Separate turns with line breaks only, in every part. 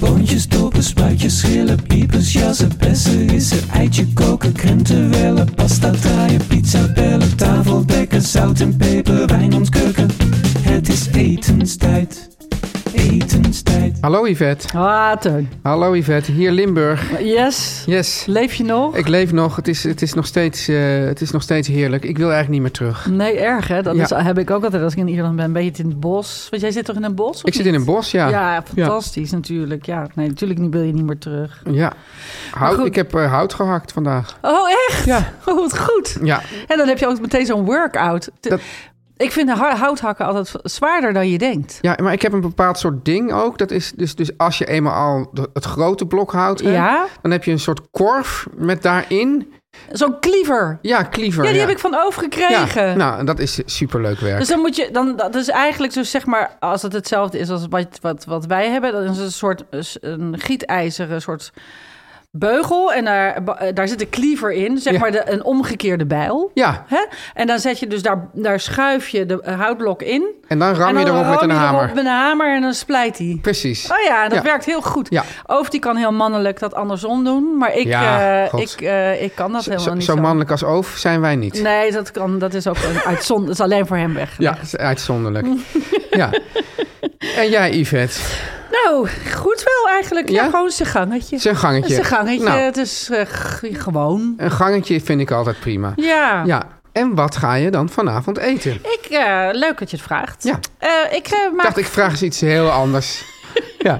Boontjes, dopen, spuitjes, schillen, piepers, jassen, bessen, rissen, eitje koken, krenten wellen, pasta draaien, pizza bellen, tafel dekken, zout en peper, wijn ontkurken. Het is etenstijd, etenstijd.
Hallo Yvette.
Ah, Teun.
Hallo Yvette, hier Limburg.
Yes.
Yes.
Leef je nog?
Ik leef nog, het is, het, is nog steeds, eh, het is nog steeds heerlijk. Ik wil eigenlijk niet meer terug.
Nee, erg hè. Dat
Ja.
is, heb ik ook altijd als ik in Ierland ben. Een beetje in het bos. Want jij zit toch in een bos? of
Ik zit
niet?
in een bos, ja.
Ja, fantastisch natuurlijk. Ja, nee, natuurlijk niet- wil je niet meer terug.
Ja. Hout,
goed.
ik heb eh, hout gehakt vandaag.
Oh, echt?
Ja.
Oh, wat goed.
Ja,
En dan heb je ook meteen zo'n workout. Te-
Dat-
Ik vind ha- houthakken altijd v- zwaarder dan je denkt.
ja, maar ik heb een bepaald soort ding ook. Dat is dus, dus als je eenmaal al de- het grote blok hout hebt,
Ja?
dan heb je een soort korf met daarin.
Zo'n kliever.
Ja, kliever.
Ja, die heb ik van overgekregen.
Ja, nou, en dat is superleuk werk.
Dus dan moet je, dan, dat is eigenlijk zo zeg maar, als het hetzelfde is als wat, wat, wat wij hebben, dan is het een soort eh, s- een gietijzeren soort beugel en daar, ba- eh, daar zit een kliever in, zeg
Ja.
maar de, een omgekeerde bijl.
Ja,
Hè? En dan zet je dus daar, daar schuif je de eh, houtblok in.
en dan ram
en
je
dan
erop met
ram
een
je erop
hamer.
met een hamer en dan splijt hij.
Precies.
Oh ja, dat
Ja.
werkt heel goed.
Ja.
Oof die kan heel mannelijk dat andersom doen, maar ik,
Ja,
eh,
God.
ik, eh, ik kan dat
Zo,
helemaal
zo-
niet
zo mannelijk als oof zijn wij niet.
Nee, dat, kan, dat is ook een uitzond, dat is alleen voor hem weg.
Ja, het is uitzonderlijk. ja. En jij, Yvette?
Nou, goed wel eigenlijk. Ja,
Ja?
gewoon zijn gangetje.
Het is een gangetje.
Zijn gangetje.
Nou.
Het is eh, g- gewoon.
Een gangetje vind ik altijd prima.
Ja.
Ja. En wat ga je dan vanavond eten? Ik
Ik, eh, leuk dat je het vraagt.
Ja.
Eh, ik eh, maak...
dacht, ik vraag eens iets heel anders. ja.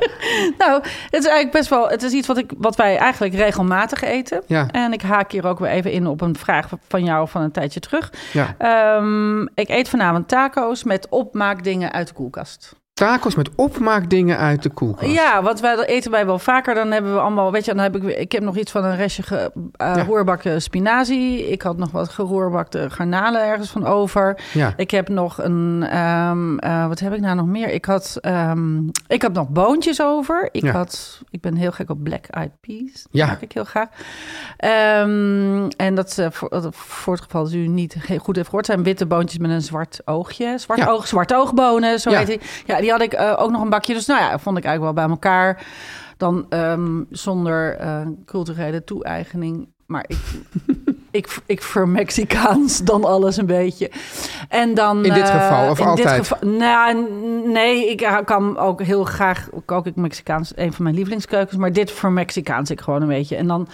Nou, het is eigenlijk best wel... Het is iets wat, ik, wat wij eigenlijk regelmatig eten.
Ja.
En ik haak hier ook weer even in op een vraag van jou van een tijdje terug.
ja.
Ehm, ik eet vanavond taco's met opmaakdingen uit de koelkast.
Tacos met opmaakdingen uit de koelkast.
Ja, wat wij dat eten wij wel vaker. Dan hebben we allemaal, weet je, dan heb ik, weer- ik heb nog iets van een restje ge, eh,
Ja.
roerbakken spinazie. Ik had nog wat geroerbakte garnalen ergens van over.
Ja.
Ik heb nog een, ehm, eh, wat heb ik nou nog meer? Ik had, ehm, ik had nog boontjes over. Ik
Ja.
had, ik ben heel gek op black eyed peas.
Ja.
Dat maak ik heel graag. Ehm, en dat is eh, voor, dat- voor het geval dat u niet ge- goed heeft gehoord, zijn witte boontjes met een zwart oogje. Zwart
Ja.
oog, zwart oogbonen, zo
Ja.
heet die. Ja, die had ik eh, ook nog een bakje. Dus nou ja, vond ik eigenlijk wel bij elkaar. Dan ehm, zonder eh, culturele toe-eigening. Maar ik, ik, ik vermexicaans dan alles een beetje. En dan,
In dit
eh,
geval, of
in
altijd?
Dit geval, nou, n- nee, ik ha- kan ook heel graag, kook ik Mexicaans, een van mijn lievelingskeukens. Maar dit vermexicaans ik gewoon een beetje. En dan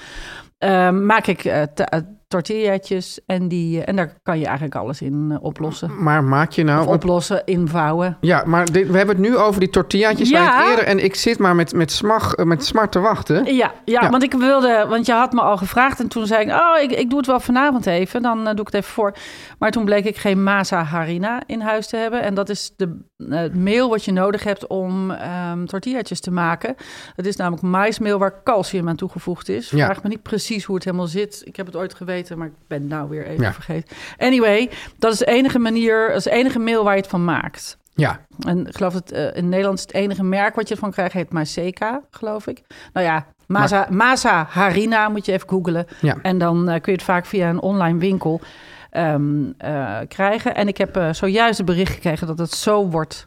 eh, maak ik eh, ta- eh, tortillaatjes en, die, eh, en daar kan je eigenlijk alles in eh, oplossen.
Maar maak je
Of
nou... want-
oplossen, invouwen.
ja, maar dit- we hebben het nu over die tortillaatjes
Ja.
waar ik eerder... En ik zit maar met, met, smag, eh, met smart te wachten.
Ja, ja,
Ja.
want ik wilde, want je had me al gevraagd en toen zei ik, oh, ik, ik doe het wel vanavond even, dan eh, doe ik het even voor. Maar toen bleek ik geen masa harina in huis te hebben en dat is de eh, het meel wat je nodig hebt om ehm tortillaatjes te maken. Dat is namelijk maismeel waar calcium aan toegevoegd is.
Ja.
Vraag me niet precies hoe het helemaal zit. Ik heb het ooit geweten, maar ik ben het nou weer even
Ja.
vergeten. Anyway, dat is de enige manier, dat is het enige meel waar je het van maakt.
Ja.
En ik geloof dat eh, in Nederland is het enige merk wat je ervan krijgt, heet Maseca, geloof ik. Nou ja, Masa, Masa Harina moet je even googelen.
Ja.
En dan eh, kun je het vaak via een online winkel ehm, eh, krijgen. En ik heb eh, zojuist een bericht gekregen dat het zo wordt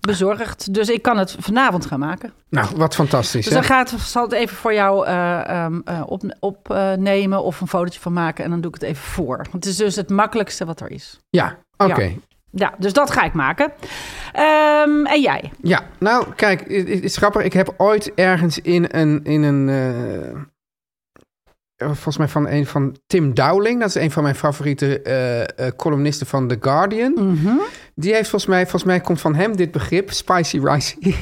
bezorgd. Dus ik kan het vanavond gaan maken.
Nou, wat fantastisch,
Dus
hè?
dan gaat, zal het even voor jou eh, ehm, eh, op opnemen of een fotootje van maken. En dan doe ik het even voor. Want het is dus het makkelijkste wat er is.
Ja, oké.
Ja. Ja, dus dat ga ik maken. Ehm, en jij?
Ja, nou kijk, het het is grappig. Ik heb ooit ergens in een. In een eh, eh, volgens mij van een van Tim Dowling. Dat is een van mijn favoriete eh, eh, columnisten van The Guardian. Die heeft volgens mij, volgens mij komt van hem dit begrip, spicy ricey.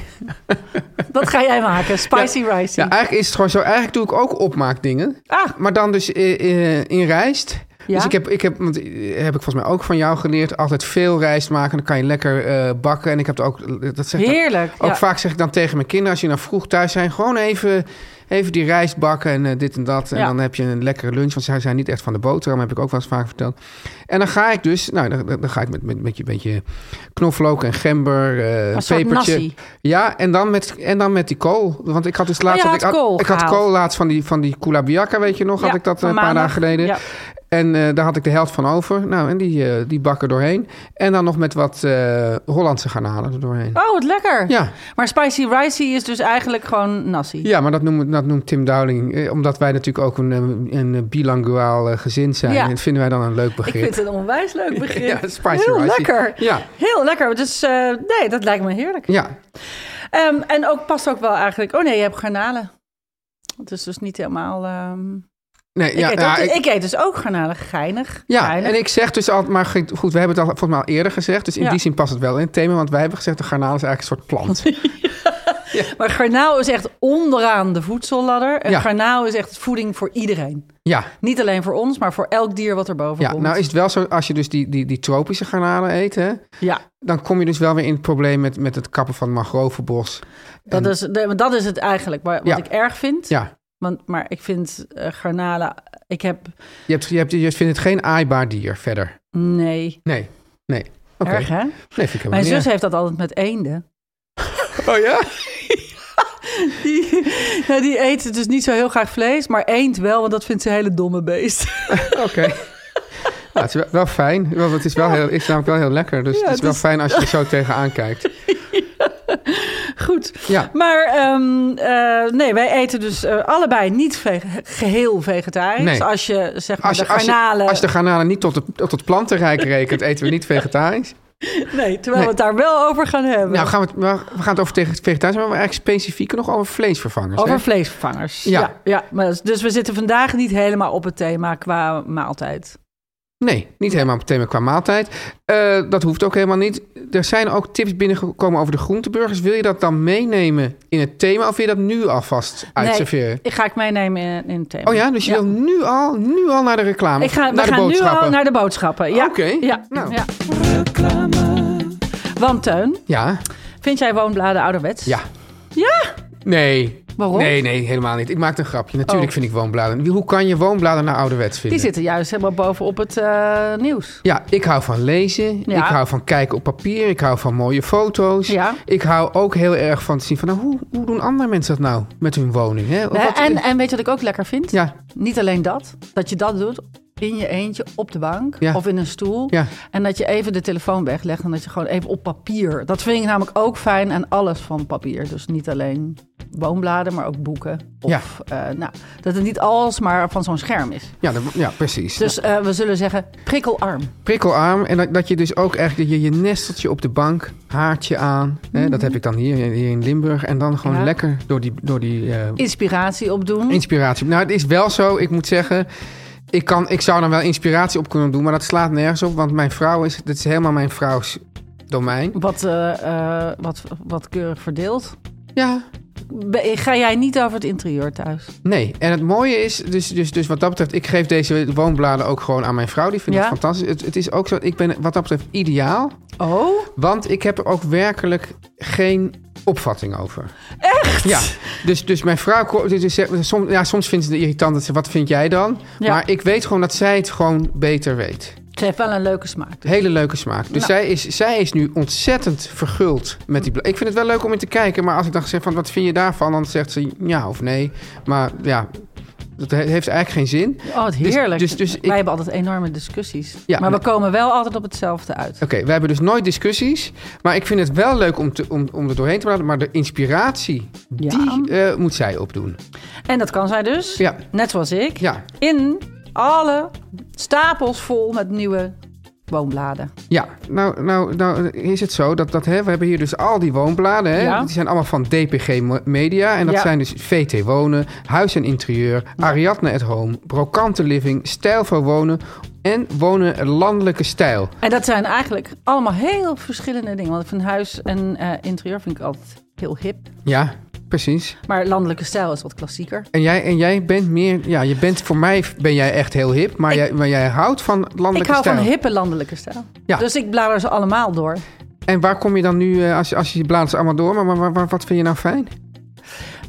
Dat ga jij maken. Spicy rice.
Ja, eh, eigenlijk is het gewoon zo. Eigenlijk doe ik ook opmaakdingen.
Ah.
Maar dan dus eh, eh, in rijst.
Ja?
Dus ik heb, ik heb, want eh, heb ik volgens mij ook van jou geleerd, altijd veel rijst maken. Dan kan je lekker eh, bakken. En ik heb het ook, eh, dat zegt
Heerlijk.
Ook
ja.
vaak zeg ik dan tegen mijn kinderen, als je nou vroeg thuis zijn, gewoon even, even die rijst bakken en eh, dit en dat. En
Ja.
dan heb je een lekkere lunch, want zij zijn niet echt van de boterham, heb ik ook wel eens vaak verteld. En dan ga ik dus, nou, dan, dan ga ik met, met, met je beetje knoflook en gember, eh,
Een soort
pepertje.
nasi. Oh,
Ja, en dan, met, en dan met die kool. Want ik had dus
je
laatst,
had
ik, had,
kool
ik had
gehaald.
kool laatst van die, van die kulabiaka, weet je nog,
Ja,
had ik dat eh,
van
een paar
maandag.
dagen geleden.
Ja.
En eh, daar had ik de helft van over. Nou, en die, eh, die bakken doorheen. En dan nog met wat eh, Hollandse garnalen er doorheen.
Oh, wat lekker.
Ja.
Maar spicy ricey is dus eigenlijk gewoon nasi.
Ja, maar dat noemt, dat noemt Tim Dowling. eh, Omdat wij natuurlijk ook een, eh, een eh, bilinguaal eh, gezin zijn.
Ja.
En dat vinden wij dan een leuk
Ik
begrip.
vind het een onwijs leuk begrip.
Ja, spicy
Heel
ricey.
lekker.
Ja.
Heel lekker. Dus eh, nee, dat lijkt me heerlijk.
Ja,
Ehm, en ook past ook wel eigenlijk. Oh nee, je hebt garnalen. Het is dus niet helemaal. ehm,
nee, ja,
ik, eet
ja,
ook-
ik-
ik eet dus ook garnalen. Geinig.
ja,
geinig.
en ik zeg dus altijd, maar ge- goed, we hebben het al volgens mij al eerder gezegd. Dus in
Ja.
die zin past het wel in het thema. Want wij hebben gezegd, de garnaal is eigenlijk een soort plant.
Maar garnaal is echt onderaan de voedselladder. En
Ja.
garnaal is echt voeding voor iedereen.
ja,
Niet alleen voor ons, maar voor elk dier wat erboven
ja,
komt.
nou is het wel zo, als je dus die, die, die tropische garnalen eet, hè,
ja,
dan kom je dus wel weer in het probleem met, met het kappen van het mangrovenbos.
dat, is, nee, maar dat is het eigenlijk wa- wat
Ja.
ik erg vind.
Ja,
Want, maar ik vind eh, garnalen... Ik heb...
je, hebt, je, hebt, je vindt het geen aaibaar dier verder.
Nee,
Nee, nee. Oké.
erg hè?
Nee, vind ik helemaal
Mijn
niet
zus
erg.
heeft dat altijd met eenden.
Oh ja?
Die, nou, die eet dus niet zo heel graag vlees, maar eend wel, want dat vindt ze een hele domme beest.
Oké. Ja, het is wel, wel fijn, want het is, wel heel, is namelijk wel heel lekker. Dus
Ja,
het is
het
wel
is-
fijn als je er zo tegenaan kijkt.
Goed.
Ja.
Maar ehm, eh, nee, wij eten dus eh, allebei niet vege- geheel vegetarisch.
Nee.
Als je zeg maar
Als je,
de
als, je,
garnalen...
als je de garnalen niet tot, de, tot het plantenrijk rekent, eten we niet vegetarisch.
Nee, terwijl
Nee.
we het daar wel over gaan hebben.
Nou, gaan we, het, we gaan het over tegen vegetarisch, maar we eigenlijk specifieker nog over vleesvervangers.
Over
hè?
vleesvervangers.
Ja.
ja, maar dus we zitten vandaag niet helemaal op het thema qua maaltijd.
Nee, niet helemaal op het thema qua maaltijd. Eh, dat hoeft ook helemaal niet. Er zijn ook tips binnengekomen over de groenteburgers. Wil je dat dan meenemen in het thema of wil je dat nu alvast uitserveren?
Nee, ik ga ik meenemen in, in het thema.
Oh ja, dus je
Ja.
wil nu al, nu al naar de reclame,
Ik ga,
naar
we
de
gaan nu
boodschappen.
al naar de boodschappen. Ja.
Oké,
Ja.
nou.
ja. Want Teun,
Ja,
vind jij woonbladen ouderwets?
ja.
Ja?
Nee.
Waarom?
Nee, nee, helemaal niet. Ik maak een grapje. Natuurlijk
Oh.
vind ik woonbladen. Hoe kan je woonbladen naar ouderwets vinden?
Die zitten juist helemaal bovenop het eh, nieuws.
Ja, ik hou van lezen.
Ja.
Ik hou van kijken op papier. Ik hou van mooie foto's.
Ja.
Ik hou ook heel erg van te zien van nou, hoe, hoe doen andere mensen dat nou met hun woning? Hè? Of wat-
en, en weet je wat ik ook lekker vind?
Ja,
Niet alleen dat, dat je dat doet in je eentje op de bank
Ja.
of in een stoel.
Ja.
En dat je even de telefoon weglegt en dat je gewoon even op papier. Dat vind ik namelijk ook fijn aan alles van papier. Dus niet alleen woonbladen, maar ook boeken. Of eh, nou, dat het niet alles maar van zo'n scherm is.
ja, dat- ja precies.
Dus eh, we zullen zeggen prikkelarm.
prikkelarm. En dat, dat je dus ook echt, dat je, je nesteltje op de bank, haartje aan. Hè? Dat heb ik dan hier, hier in Limburg. En dan gewoon
Mhm. Ja.
lekker door die, door die eh,
Inspiratie opdoen.
Inspiratie. Nou, het is wel zo, ik moet zeggen. Ik, kan, ik zou dan wel inspiratie op kunnen doen, maar dat slaat nergens op. Want mijn vrouw is, dit is helemaal mijn vrouws domein.
wat, eh, eh, wat, wat keurig verdeeld.
Ja.
Be- eh, Ga jij niet over het interieur thuis?
Nee. En het mooie is, dus, dus, dus wat dat betreft, ik geef deze woonbladen ook gewoon aan mijn vrouw. Die vindt
Ja?
het fantastisch. Het, het is ook zo, ik ben wat dat betreft ideaal.
Oh,
Want ik heb er ook werkelijk geen opvatting over. Echt? Ja. Dus, dus mijn vrouw... ko- Dus, dus zegt- soms, ja, soms vindt ze het irritant. Dat ze, wat vind jij dan?
Ja.
Maar ik weet gewoon dat zij het gewoon beter weet.
ze heeft wel een leuke smaak.
Hele leuke smaak. Dus zij, is, zij is nu ontzettend verguld met die bla- Ik vind het wel leuk om in te kijken, maar als ik dan zeg van wat vind je daarvan, dan zegt ze ja of nee. Maar ja, dat he- heeft eigenlijk geen zin.
Oh, wat heerlijk.
dus- dus
Wij
ik-
hebben altijd enorme discussies.
Ja,
maar we
maar-
komen wel altijd op hetzelfde uit.
Oké, we hebben dus nooit discussies, maar ik vind het wel leuk om, te, om, om er doorheen te praten. Maar de inspiratie, die eh, moet zij opdoen.
En dat kan zij dus,
Ja.
net zoals ik,
Ja.
in alle stapels vol met nieuwe woonbladen.
Ja, nou, nou, nou is het zo dat, dat hè, we hebben hier dus al die woonbladen. Hè?
Ja.
Die zijn allemaal van DPG Mo- Media. En dat
Ja.
zijn dus VT Wonen, Huis en Interieur, Ariadne at Home, Brokante Living, Stijl voor Wonen en Wonen Landelijke Stijl.
En dat zijn eigenlijk allemaal heel verschillende dingen. Want van huis en eh, interieur vind ik altijd heel hip.
Ja, precies.
Maar landelijke stijl is wat klassieker.
En jij, en jij bent meer, ja, je bent voor mij ben jij echt heel hip, maar,
Ik-
jij, maar jij houdt van landelijke
Ik hou
stijl.
van hippe landelijke stijl.
Ja.
Dus ik blader ze allemaal door.
En waar kom je dan nu, eh, als, je- als je die bladeren allemaal door, maar, maar, maar- maar wat vind je nou fijn?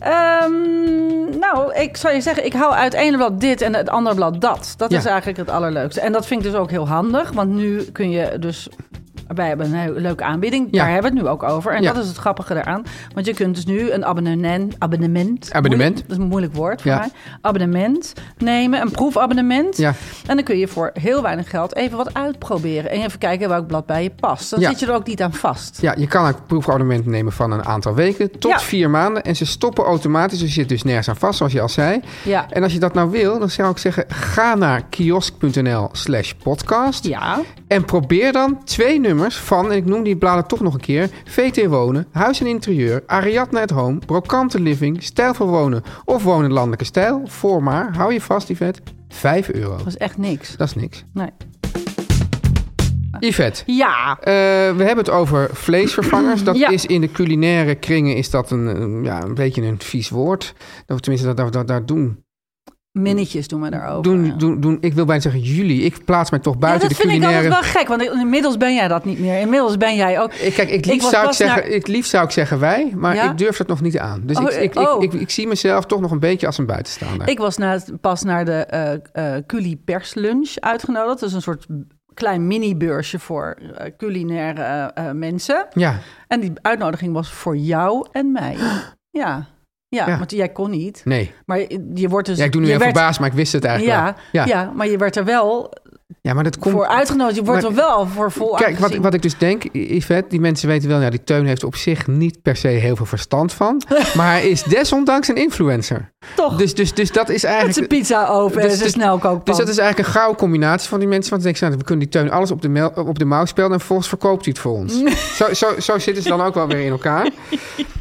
Ehm, nou, ik zou je zeggen, ik hou uit het ene blad dit en het andere blad dat. Dat
Ja.
is eigenlijk het allerleukste. En dat vind ik dus ook heel handig, want nu kun je dus... Wij hebben een heel leuke aanbieding,
Ja.
daar hebben we het nu ook over. En
Ja.
dat is het grappige eraan. Want je kunt dus nu een abonnement... Abonnement.
Abonnement.
Moeilijk- dat is een moeilijk woord voor
Ja.
mij. Abonnement nemen, een proefabonnement.
Ja.
En dan kun je voor heel weinig geld even wat uitproberen. En even kijken welk blad bij je past. Dan
Ja.
zit je er ook niet aan vast.
Ja, je kan ook proefabonnementen nemen van een aantal weken tot
Ja.
vier maanden. En ze stoppen automatisch. Dus je zit dus nergens aan vast, zoals je al zei.
Ja.
En als je dat nou wil, dan zou ik zeggen: ga naar kiosk.nl slash podcast.
ja.
En probeer dan twee nummers van, en ik noem die bladen toch nog een keer: VT Wonen, Huis en Interieur, Ariadne at Home, Brokante Living, Stijl voor Wonen of Wonen Landelijke Stijl. Voor maar, hou je vast, Yvette, 5 euro.
Dat is echt niks.
Dat is niks.
Nee.
Yvette.
Ja.
Eh, we hebben het over vleesvervangers. Dat
Ja.
is in de culinaire kringen is dat een, een, ja, een beetje een vies woord. Dat we tenminste, dat, dat, dat, daar doen.
Minnetjes doen we daarover.
Doen, doen, doen. Ik wil bijna zeggen jullie. Ik plaats mij toch buiten
ja, dat
de
vind ik
culinaire...
altijd wel gek, want inmiddels ben jij dat niet meer. Inmiddels ben jij ook...
Ik, kijk, ik liefst,
was
zou ik,
pas
zeggen,
naar-
ik liefst zou ik zeggen wij, maar
Ja?
ik durf dat nog niet aan. Dus
Oh,
ik, ik,
oh.
ik, ik, ik zie mezelf toch nog een beetje als een buitenstaander.
Ik was na, pas naar de eh eh Culi Pers Lunch uitgenodigd. Dat is een soort klein mini-beursje voor eh, culinaire eh, eh, mensen.
Ja,
En die uitnodiging was voor jou en mij. Ja, ja,
Ja.
want jij kon niet.
nee.
Maar je, je wordt dus...
Ja, ik doe nu
je
heel
werd-
verbaasd, maar ik wist het eigenlijk
Ja,
wel.
ja. maar je werd er wel
ja, maar dat komt...
voor uitgenodigd. Je wordt
maar-
er wel voor vol
Kijk, wat,
aangezien.
wat ik dus denk, Yvette, die mensen weten wel, ja, die Teun heeft op zich niet per se heel veel verstand van. maar hij is desondanks een influencer.
Toch,
Dus, dus, dus dat is
met zijn
eigenlijk.
pizza open
dus-
en zijn
dus-
snelkookpan.
Dus dat is eigenlijk een gouden combinatie van die mensen. Want dan denk nou, we kunnen die Teun alles op de, mel- op de mouw spelen en volgens verkoopt hij het voor ons. Zo, zo, zo zitten ze dan ook wel weer in elkaar.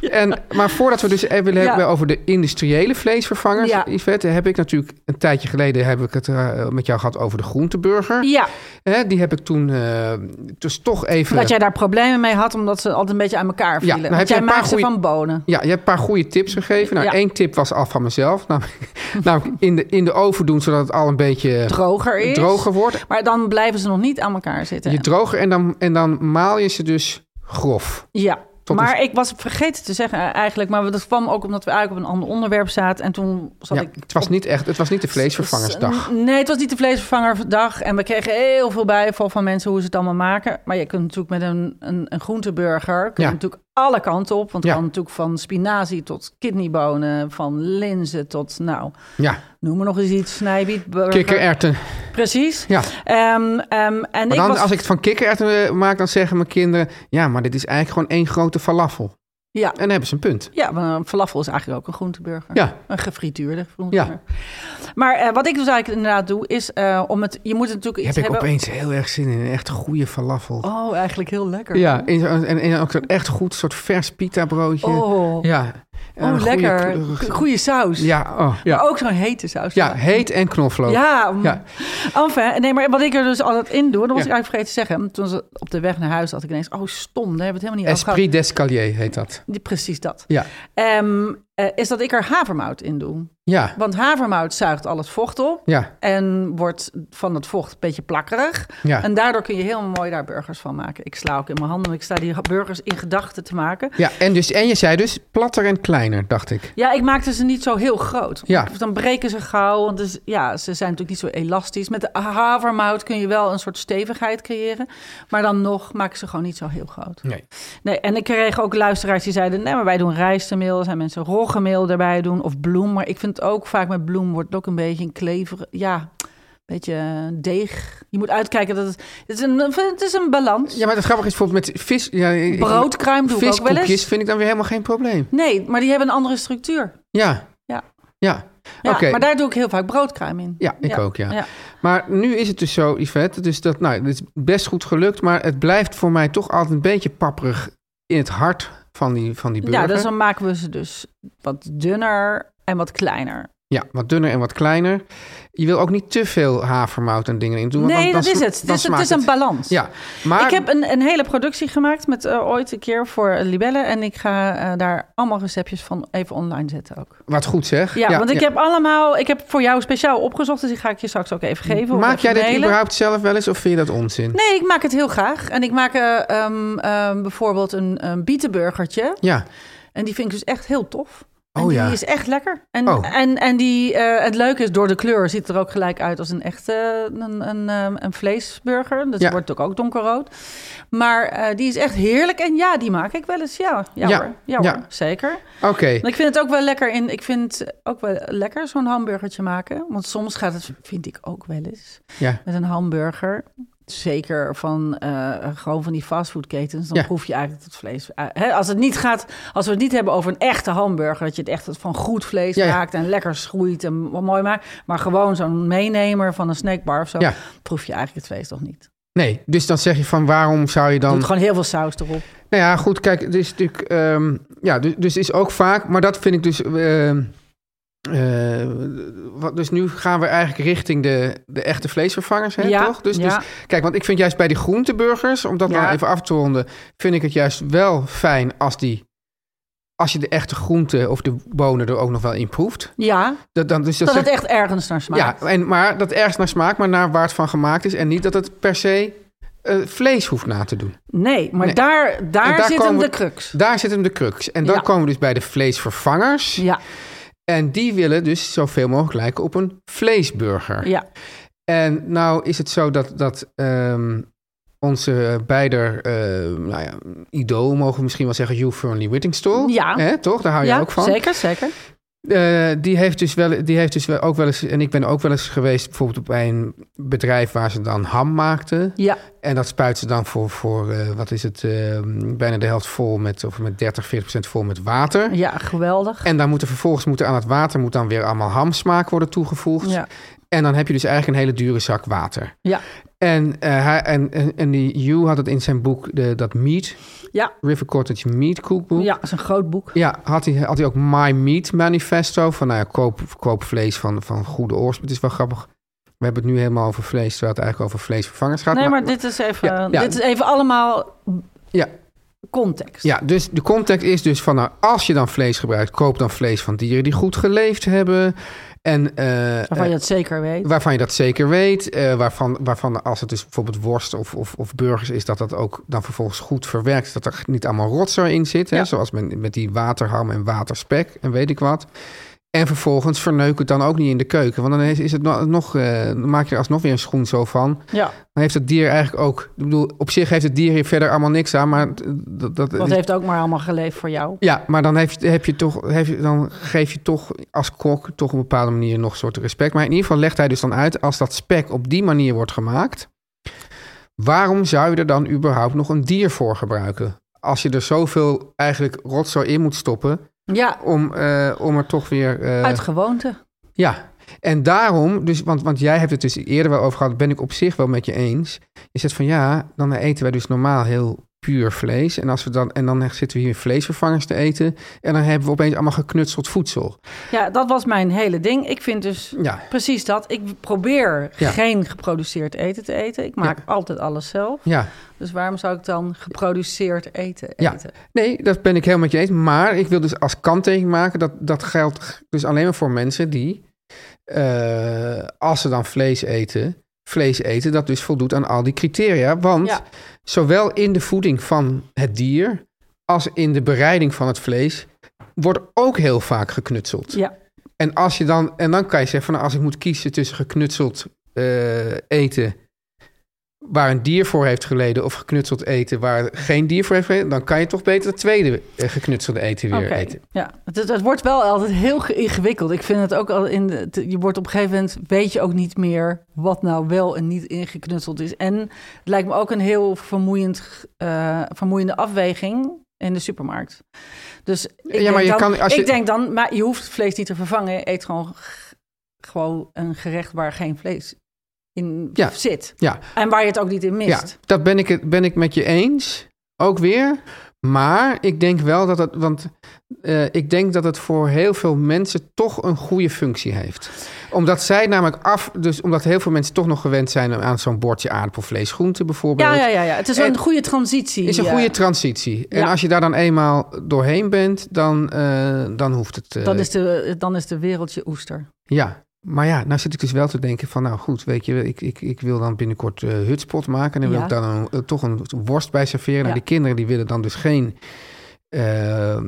En, maar voordat we dus even willen hebben
Ja.
over de industriële vleesvervangers,
Ja.
Yvette, heb ik natuurlijk een tijdje geleden heb ik het eh, met jou gehad over de groenteburger.
Ja,
Hè, die heb ik toen eh, dus toch even...
dat jij daar problemen mee had, omdat ze altijd een beetje aan elkaar vielen.
nou heb
Want
je
jij
een paar
maakt ze
goeie-
van bonen.
Ja, je hebt een paar goede tips gegeven. Nou,
Ja.
één tip was af van mezelf. Namelijk, namelijk in, de, in de oven doen, zodat het al een beetje
Droger is.
droger wordt.
Maar dan blijven ze nog niet aan elkaar zitten.
Je droger en dan, en dan maal je ze dus grof.
Ja.
Tot
maar ik was vergeten te zeggen eh, eigenlijk, maar dat kwam ook omdat we eigenlijk op een ander onderwerp zaten. En toen zat
Ja,
ik.
het, was niet echt, het was niet de vleesvervangersdag.
Nee, het was niet de vleesvervangerdag. En we kregen heel veel bijval van mensen hoe ze het allemaal maken. Maar je kunt natuurlijk met een, een, een groenteburger. Kun je
Ja.
natuurlijk alle kanten op. Want het
Ja.
kan natuurlijk van spinazie tot kidneybonen. Van linzen tot, nou,
Ja,
noem maar nog eens iets. Snijbietburger.
kikkererwten.
Precies.
Ja.
Ehm, ehm, en
Maar
ik
dan,
was,
als ik het van kikkererwten eh, maak, dan zeggen mijn kinderen... ja, maar dit is eigenlijk gewoon één grote falafel.
Ja.
En dan hebben ze een punt.
Ja, want een falafel is eigenlijk ook een groenteburger.
Ja.
Een gefrituurde groenteburger. Maar eh, wat ik dus eigenlijk inderdaad doe, is eh, om het... Je moet het natuurlijk
Heb
iets
ik
hebben...
opeens heel erg zin in een echt goede falafel.
Oh, eigenlijk heel lekker.
Ja, in zo'n- en, en ook zo'n echt goed soort vers pita broodje.
Oh,
Ja. En een
oh
goede
lekker.
kleur-
Goeie, saus.
Ja, oh,
Maar
ja.
ook zo'n hete saus.
ja, heet en knoflook.
Ja, mm.
Ja.
Enfin, nee, maar wat ik er dus altijd in doe, dat was
Ja.
ik eigenlijk vergeten te zeggen. Toen ze op de weg naar huis had ik ineens, oh stom, daar hebben we het helemaal niet over gehad.
Esprit d'escalier heet dat.
Die- Precies dat.
Ja,
Ehm, eh, is dat ik er havermout in doe.
ja,
Want havermout zuigt al het vocht op.
ja.
En wordt van het vocht een beetje plakkerig.
Ja.
En daardoor kun je heel mooi daar burgers van maken. Ik sla ook in mijn handen. Ik sta die burgers in gedachten te maken.
ja en, dus, en je zei dus platter en kleiner, dacht ik.
Ja, ik maakte ze niet zo heel groot.
Ja.
Want Dan breken ze gauw. Want dus, ja, ze zijn natuurlijk niet zo elastisch. Met de havermout kun je wel een soort stevigheid creëren. Maar dan nog maak ik ze gewoon niet zo heel groot.
Nee.
Nee, en ik kreeg ook luisteraars die zeiden... nee, maar wij doen rijstemeel. Er zijn mensen roggemeel erbij doen of bloem. Maar ik vind het ook vaak met bloem wordt het ook een beetje een klever... ja, een beetje eh, deeg. Je moet uitkijken dat het... Het is een, het is een balans.
Ja, maar het grappige is bijvoorbeeld met vis... Ja, ik- ik-
Broodkruim doe ik ook wel eens.
Viskoekjes vind ik dan weer helemaal geen probleem.
Nee, maar die hebben een andere structuur.
Ja.
Ja.
Ja.
Ja,
Oké.
Maar daar doe ik heel vaak broodkruim in.
Ja, ik ook, ja.
ja.
Maar nu is het dus zo, Yvette, dus dat, nou, het is best goed gelukt, maar het blijft voor mij toch altijd een beetje papperig in het hart van die, van die burger.
Ja, dus dan maken we ze dus wat dunner en wat kleiner.
Ja, wat dunner en wat kleiner. Je wil ook niet te veel havermout en dingen in doen. want
nee,
dan-
dat
dan
is
sma-
het. Het
dan
is, het
smaakt
is een balans.
Ja, maar
Ik heb een, een hele productie gemaakt met eh, ooit een keer voor Libelle. En ik ga eh, daar allemaal receptjes van even online zetten ook.
wat goed zeg.
Ja, want ik heb allemaal... Ik heb voor jou speciaal opgezocht, dus die ga ik je straks ook even geven. of
Maak
even
jij dit
mailen.
überhaupt zelf wel eens of vind je dat onzin?
Nee, ik maak het heel graag. En ik maak eh, ehm, ehm, bijvoorbeeld een, een bietenburgertje.
Ja,
En die vind ik dus echt heel tof. En
Oh
die
ja.
is echt lekker. En,
Oh.
en, en die, eh, het leuke is, door de kleur ziet het er ook gelijk uit als een echte een, een, ehm, een vleesburger. Dus
Ja.
wordt natuurlijk ook donkerrood. Maar eh, die is echt heerlijk. En ja, die maak ik wel eens. Ja, ja,
Ja.
hoor. Ja,
Ja.
hoor. zeker.
oké.
En ik vind het ook wel lekker in. Ik vind ook wel lekker zo'n hamburgertje maken. Want soms gaat het, vind ik ook wel eens
Ja.
met een hamburger. Zeker van eh, gewoon van die fastfoodketens. Dan
Ja.
proef je eigenlijk dat het vlees. eh, hè, als, het niet gaat, als we het niet hebben over een echte hamburger. Dat je het echt van goed vlees
Ja, ja.
maakt. En lekker schroeit en wat mooi maakt. Maar gewoon zo'n meenemer van een snackbar of zo.
Ja.
Proef je eigenlijk het vlees toch niet.
Nee, dus dan zeg je van waarom zou je dan...
Doet gewoon heel veel saus erop.
Nou ja, goed, kijk, het is natuurlijk... ehm, ja, dus, dus is ook vaak... Maar dat vind ik dus... ehm, eh, wat, dus nu gaan we eigenlijk richting de, de echte vleesvervangers, hè,
Ja,
toch? Dus,
ja.
dus kijk, want ik vind juist bij die groenteburgers, om dat
Ja.
nou even af te ronden, vind ik het juist wel fijn als die, als je de echte groenten of de bonen er ook nog wel in proeft.
Ja,
Dat, dan, dus dat
dat
zeg-
het echt ergens naar smaakt.
ja, en, maar dat ergens naar smaakt, maar naar waar het van gemaakt is. En niet dat het per se eh, vlees hoeft na te doen.
Nee, maar
Nee.
daar,
En
daar, zit hem
komen
de
we-
crux.
Daar zit hem de crux. En dan
Ja.
komen we dus bij de vleesvervangers.
Ja,
En die willen dus zoveel mogelijk lijken op een vleesburger.
ja.
En nou is het zo dat, dat ehm, onze beider, eh, nou ja, idool mogen we misschien wel zeggen, Hugh Fernley Whittingstall.
Ja.
Hè, toch? Daar hou je
ja
ook van.
zeker, zeker.
Eh, die heeft dus, wel, die heeft dus wel, ook wel eens, en ik ben ook wel eens geweest bijvoorbeeld bij een bedrijf waar ze dan ham maakten.
Ja,
En dat spuit ze dan voor, voor eh, wat is het, eh, bijna de helft vol met, of met 30, 40 procent vol met water.
ja geweldig.
En dan moeten vervolgens moeten aan het water moet dan weer allemaal hamsmaak worden toegevoegd.
Ja,
En dan heb je dus eigenlijk een hele dure zak water.
ja.
En, eh, hij, en, en, en die Hugh had het in zijn boek, de, dat Meat,
Ja,
River Cottage Meat Cookbook.
ja, dat is een groot boek.
Ja, had hij, had hij ook My Meat Manifesto. Van nou ja, koop, koop vlees van, van goede oorsprong. Het is wel grappig. We hebben het nu helemaal over vlees, terwijl het eigenlijk over vleesvervangers gaat.
Nee,
maar-
maar dit is even,
Ja, ja.
Dit is even allemaal
Ja,
context.
ja, dus de context is dus van, nou, als je dan vlees gebruikt, koop dan vlees van dieren die goed geleefd hebben. En, eh,
Waarvan je het zeker weet.
Waarvan je dat zeker weet. eh, waarvan, waarvan als het dus bijvoorbeeld worst of, of, of burgers is, dat dat ook dan vervolgens goed verwerkt. is, Dat er niet allemaal rotzooi in zit. Hè?
Ja.
Zoals met, met die waterham en waterspek en weet ik wat. En vervolgens verneuk het dan ook niet in de keuken. Want dan is, is het no- nog, eh, dan maak je er alsnog weer een schoen zo van.
Ja,
Dan heeft het dier eigenlijk ook. Ik bedoel, op zich heeft het dier hier verder allemaal niks aan. Maar t- dat, dat,
dat heeft ook maar allemaal geleefd voor jou.
ja, maar dan, heb je, heb je toch, heb je, dan geef je toch als kok toch op een bepaalde manier nog een soort respect. Maar in ieder geval legt hij dus dan uit, als dat spek op die manier wordt gemaakt, waarom zou je er dan überhaupt nog een dier voor gebruiken? Als je er zoveel eigenlijk rotzooi in moet stoppen
Ja,
om, eh, om er toch weer... eh,
uit gewoonte.
ja, en daarom, dus, want, want jij hebt het dus eerder wel over gehad, ben ik op zich wel met je eens. Je zegt van ja, dan eten wij dus normaal heel puur vlees. En, als we dan, en dan zitten we hier vleesvervangers te eten. En dan hebben we opeens allemaal geknutseld voedsel.
Ja, dat was mijn hele ding. Ik vind dus
Ja,
precies dat. Ik probeer
Ja.
geen geproduceerd eten te eten. Ik maak
Ja.
altijd alles zelf.
ja.
Dus waarom zou ik dan geproduceerd eten
Ja.
eten?
Nee, dat ben ik helemaal met je eens. Maar ik wil dus als kanttekening maken dat dat geldt dus alleen maar voor mensen die, eh, als ze dan vlees eten, vlees eten, dat dus voldoet aan al die criteria. Want
Ja.
zowel in de voeding van het dier als in de bereiding van het vlees wordt ook heel vaak geknutseld.
Ja.
En, als je dan, en dan kan je zeggen van nou, als ik moet kiezen tussen geknutseld eh, eten waar een dier voor heeft geleden of geknutseld eten waar geen dier voor heeft geleden, dan kan je toch beter het tweede eh, geknutselde eten weer
Oké,
eten.
Ja, het, het- het wordt wel altijd heel ge- ingewikkeld. Ik vind het ook al in. de- te- je wordt op een gegeven moment. weet je ook niet meer. wat nou wel en niet ingeknutseld is. En het lijkt me ook een heel vermoeiend, eh, vermoeiende afweging. in de supermarkt. Dus ik,
Ja, maar
denk,
je
dan,
kan- als
ik
je-
denk dan, maar je hoeft vlees niet te vervangen. Eet gewoon, g- gewoon een gerecht waar geen vlees in
Ja.
zit.
Ja,
En waar je het ook niet in mist.
ja dat ben ik, het- ben ik met je eens. Ook weer. Maar ik denk wel dat het, want eh, ik denk dat het voor heel veel mensen toch een goede functie heeft. Omdat zij namelijk af, dus omdat heel veel mensen toch nog gewend zijn aan zo'n bordje aardappelvlees, groente bijvoorbeeld.
Ja, ja, ja, ja. Het is wel
En-
een goede transitie.
Is een
ja.
goede transitie. En
Ja.
als je daar dan eenmaal doorheen bent, dan, eh, dan hoeft het. eh,
dan, is de, dan is de wereldje oester.
Ja, maar ja, nou zit ik dus wel te denken van, nou goed, weet je, ik, ik, ik wil dan binnenkort eh, hutspot maken. En dan wil
Ja.
ik dan een- eh, toch een worst bij serveren. En
Ja.
die kinderen die willen dan dus geen eh,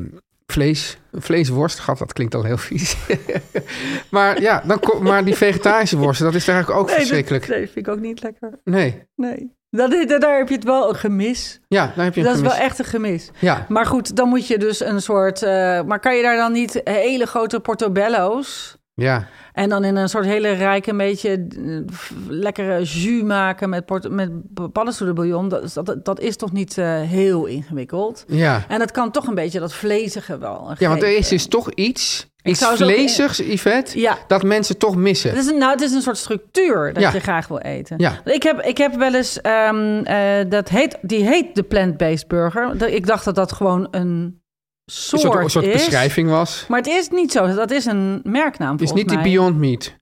vlees, vleesworst. Gat, dat klinkt al heel vies. maar ja, dan kom, maar die vegetarische worsten, dat is daar eigenlijk ook verschrikkelijk.
Nee, vind ik ook niet lekker.
Nee,
Nee. Dat, is- daar heb je het wel een gemis.
ja, daar heb je een
Dat is wel
gemis.
echt een gemis.
Ja,
Maar goed, dan moet je dus een soort. eh, maar kan je daar dan niet hele grote portobello's.
ja,
En dan in een soort hele rijke, een beetje eh, f- lekkere jus maken met, port- met b- paddenstoelenbouillon. Dat, is- dat, dat is toch niet eh, heel ingewikkeld?
ja.
En dat kan toch een beetje dat vlezige wel.
Ja, want er is
geven.
dus toch iets, iets
zou zo-
vleesigs, Yvette,
Ja.
dat mensen toch missen.
Het is, een, nou, het is een soort structuur dat
Ja.
je graag wil eten.
Ja.
Ik, heb, ik heb wel eens, ehm, eh, dat heet, die heet de plant-based burger. Dat- Ik dacht dat dat gewoon een
Een
soort,
soort, een soort
is.
beschrijving was.
Maar het is niet zo. Dat is een merknaam
Het is
volgens
niet die
mij.
Beyond Meat.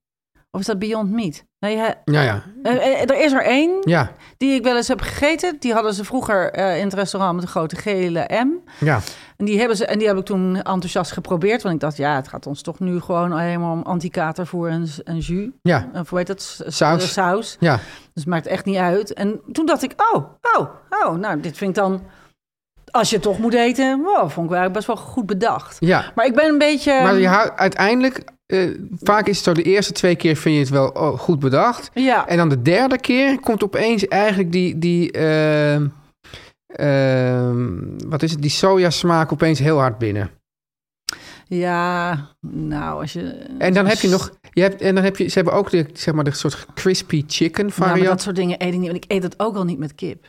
Of is dat Beyond Meat? Nee, hè,
Ja, ja.
eh, eh, er is er één
Ja,
die ik wel eens heb gegeten. Die hadden ze vroeger eh, in het restaurant met de grote gele M.
ja.
En die, hebben ze, en die heb ik toen enthousiast geprobeerd. Want ik dacht, ja, het gaat ons toch nu gewoon helemaal om antikatervoer en, en jus.
Ja,
Of hoe heet dat? S- s-
Saus.
eh, saus.
ja.
Dus het maakt echt niet uit. En toen dacht ik, oh, oh, oh, nou, dit vind ik dan... Als je het toch moet eten, wow, vond ik wel eigenlijk best wel goed bedacht.
ja.
Maar ik ben een beetje...
Maar je houdt uiteindelijk, eh, vaak is het zo, de eerste twee keer vind je het wel oh, goed bedacht.
ja.
En dan de derde keer komt opeens eigenlijk die, die ehm, ehm, wat is het, die sojasmaak opeens heel hard binnen.
ja, nou, als je...
En dan heb je nog, je hebt, en dan heb je, ze hebben ook de, zeg maar, de soort crispy chicken
Ja, maar dat
variant.
soort dingen eet ik niet. Want ik eet dat ook al niet met kip.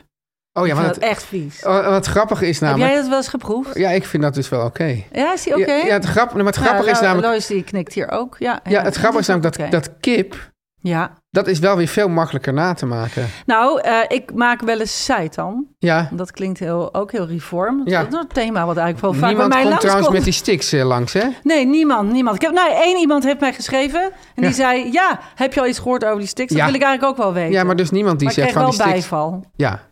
oh ja,
ik
maar
vind
dat,
dat echt vies.
oh, wat grappig is
heb jij
namelijk,
dat wel eens geproefd?
ja, ik vind dat dus wel oké.
Ja, is die oké?
Ja, ja, het grap, maar het grappige
Ja,
is
Lo-
namelijk,
Lois die knikt hier ook. Ja,
ja, het grappige is namelijk
ook
dat,
oké.
dat kip,
Ja.
dat is wel weer veel makkelijker na te maken.
Nou, eh, ik maak wel eens seitan.
Ja.
Dat klinkt heel, ook heel reform.
Ja.
Dat is een thema wat eigenlijk wel vaak
Niemand
bij mij
komt trouwens
langskomt.
met die sticks eh, langs, hè?
Nee, niemand, niemand. Ik heb, nou, één iemand heeft mij geschreven en die
Ja.
zei... Ja, heb je al iets gehoord over die sticks? Dat
Ja.
wil ik eigenlijk ook wel weten.
Ja, maar dus niemand die
Maar ik
zegt
kreeg
van
wel
die sticks.
bijval.
Ja.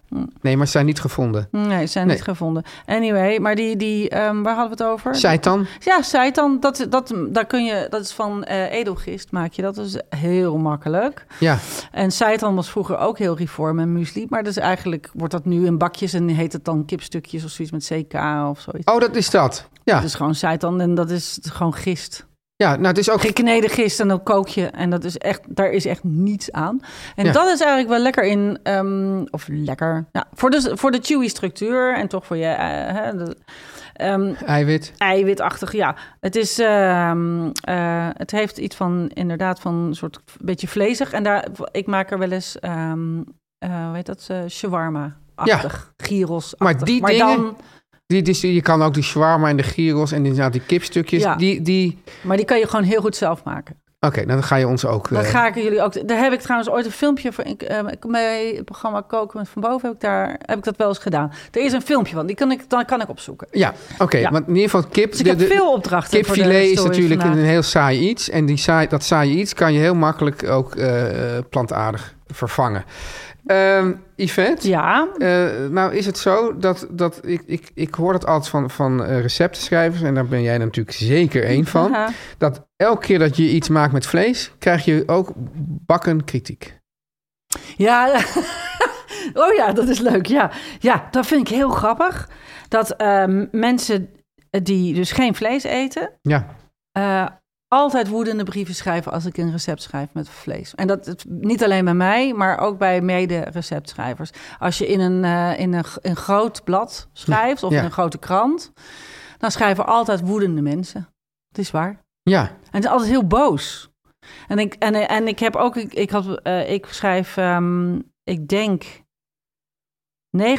Nee, maar ze zijn niet gevonden.
Nee, ze zijn
Nee.
niet gevonden. Anyway, maar die... die ehm, waar hadden we het over?
Seitan?
Ja, seitan. Dat, dat, daar kun je, dat is van eh, edelgist, maak je dat. Dat is heel makkelijk.
Ja.
En seitan was vroeger ook heel reform en muesli. Maar dus eigenlijk wordt dat nu in bakjes en heet het dan kipstukjes of zoiets met CK of zoiets.
Oh, dat is dat. Ja.
Dat is gewoon seitan en dat is gewoon gist.
Ja, nou, het is ook...
Gekneden gist en dan kook je. En dat is echt, daar is echt niets aan. En
Ja.
dat is eigenlijk wel lekker in, ehm, of lekker, ja, voor, de, voor de chewy structuur en toch voor je eh, hè, de- ehm,
Eiwit.
eiwitachtig, ja. Het, is, ehm, eh, het heeft iets van, inderdaad, van een soort beetje vlezig. En daar, ik maak er wel eens, ehm eh, hoe heet dat, eh shawarma-achtig, gyros
Maar die dingen- Die, dus je kan ook die shawarma en de gyros en inderdaad die kipstukjes.
Ja.
Die, die...
maar die kan je gewoon heel goed zelf maken.
Oké, nou, dan ga je ons ook...
Dat
eh,
ga ik jullie ook. Daar heb ik trouwens ooit een filmpje voor. Ik, eh, ik- bij het programma Koken met Van Boven heb ik, daar, heb ik dat wel eens gedaan. Er is een filmpje van, die kan ik, dan kan ik opzoeken.
Ja, oké.
Ja.
Want in ieder geval kip...
Dus ik heb veel opdrachten. voor de
Kipfilet is
story
natuurlijk
vandaag.
een heel saai iets. En die saai, dat saaie iets kan je heel makkelijk ook eh, plantaardig vervangen. Ehm Yvette?
Ja,
Eh, nou is het zo dat, dat ik, ik, ik hoor het altijd van, van eh, receptenschrijvers, en daar ben jij natuurlijk zeker één van,
Ja.
dat elke keer dat je iets maakt met vlees, krijg je ook bakken kritiek.
Ja, oh ja, dat is leuk. Ja, ja dat vind ik heel grappig. Dat ehm, mensen die dus geen vlees eten,
Ja,
eh, altijd woedende brieven schrijven als ik een recept schrijf met vlees. En dat het- niet alleen bij mij, maar ook bij mede-receptschrijvers. Als je in een, eh, in een, g- een groot blad schrijft of
Ja.
in een grote krant, dan schrijven altijd woedende mensen. Het is waar.
ja,
En het is altijd heel boos. En ik, en, en ik heb ook, ik, ik, had, eh, ik schrijf, ehm, ik denk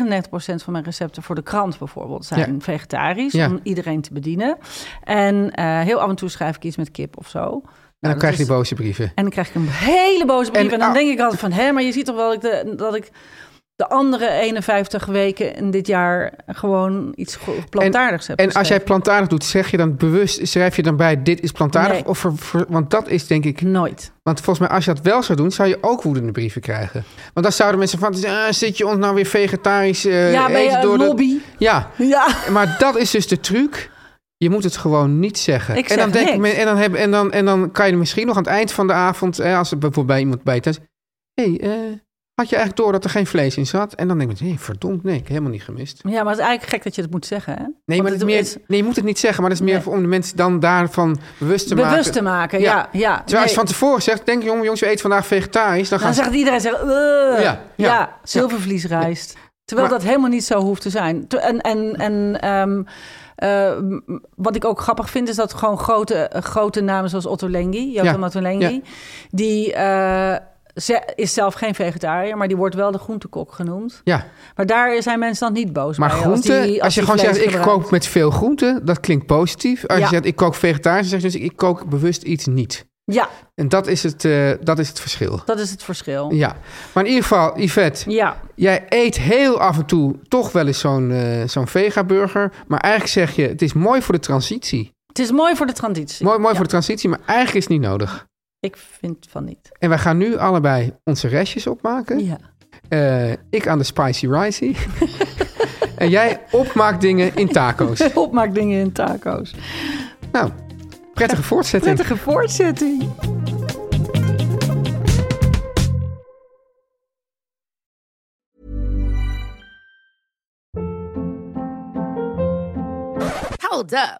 99% van mijn recepten voor de krant bijvoorbeeld zijn
Ja.
vegetarisch,
Ja.
om iedereen te bedienen. En eh, heel af en toe schrijf ik iets met kip of zo.
En dan krijg je
die
die boze brieven.
en dan krijg ik een hele boze brief.
En-
En, dan
ah.
denk ik altijd van, hè, maar je ziet toch wel dat ik de, dat ik de andere 51 weken in dit jaar gewoon iets go- plantaardigs heb
En als jij
geschreven.
plantaardig doet, zeg je dan bewust, schrijf je dan bij dit is plantaardig?
Nee.
Of ver- ver- want dat is denk ik,
Nooit.
want volgens mij als je dat wel zou doen, zou je ook woedende brieven krijgen. Want dan zouden mensen van, ah, zit je ons nou weer vegetarisch eh,
ja, ben je
eten
een
door de-
lobby?
Ja,
Ja.
maar dat is dus de truc. Je moet het gewoon niet zeggen.
Ik
en dan
zeg niks.
men- en, dan heb, en, dan, en dan kan je misschien nog aan het eind van de avond, hè, als er bijvoorbeeld bij iemand bij je thuis, hé, hey, eh, had je eigenlijk door dat er geen vlees in zat? En dan denk je, hé, verdomd, nee, ik heb helemaal niet gemist.
Ja, maar het is eigenlijk gek dat je het moet zeggen, hè?
Nee,
Want
maar
het
het is meer,
is-
nee, je moet het niet zeggen, maar dat is meer
Nee.
voor- om de mensen dan daarvan bewust te maken.
Bewust te maken, ja.
Terwijl
ja,
als je
Nee.
van tevoren zegt, denk jongen, jongens, we eten vandaag vegetarisch, dan gaan
Dan
ze...
zegt iedereen, zegt,
Ja,
"Ugh." ja,
ja.
zilvervliesrijst. Terwijl
Maar-
dat helemaal niet zo hoeft te zijn. Te- En, en, en ehm, ehm, wat ik ook grappig vind, is dat gewoon grote, grote namen zoals Otto Lengi, Jotam
Ja,
Otto Lengi,
ja.
die eh, ze- is zelf geen vegetariër, maar die wordt wel de groentekok genoemd.
Ja,
Maar daar zijn mensen dan niet boos
maar
bij.
groenten, als,
die-
je
die
gewoon
vlees
zegt, ik
gebruikt.
kook met veel groenten, dat klinkt positief. Als je
Ja.
zegt, ik kook vegetarisch, dan zeg je dus, ik kook bewust iets niet.
Ja,
En dat is het, eh, dat is het verschil.
dat is het verschil.
Ja, maar in ieder geval, Yvette,
Ja,
jij eet heel af en toe toch wel eens zo'n eh zo'n vega-burger. Maar eigenlijk zeg je, het is mooi voor de transitie.
het is mooi voor de transitie.
Mooi, mooi
Ja,
voor de transitie, maar eigenlijk is het niet nodig.
Ik vind van niet.
En wij gaan nu allebei onze restjes opmaken.
Ja.
Eh, ik aan de spicy ricey. en jij opmaakdingen in taco's.
Opmaak dingen in taco's.
Nou, prettige voortzetting.
Prettige voortzetting.
Hold up.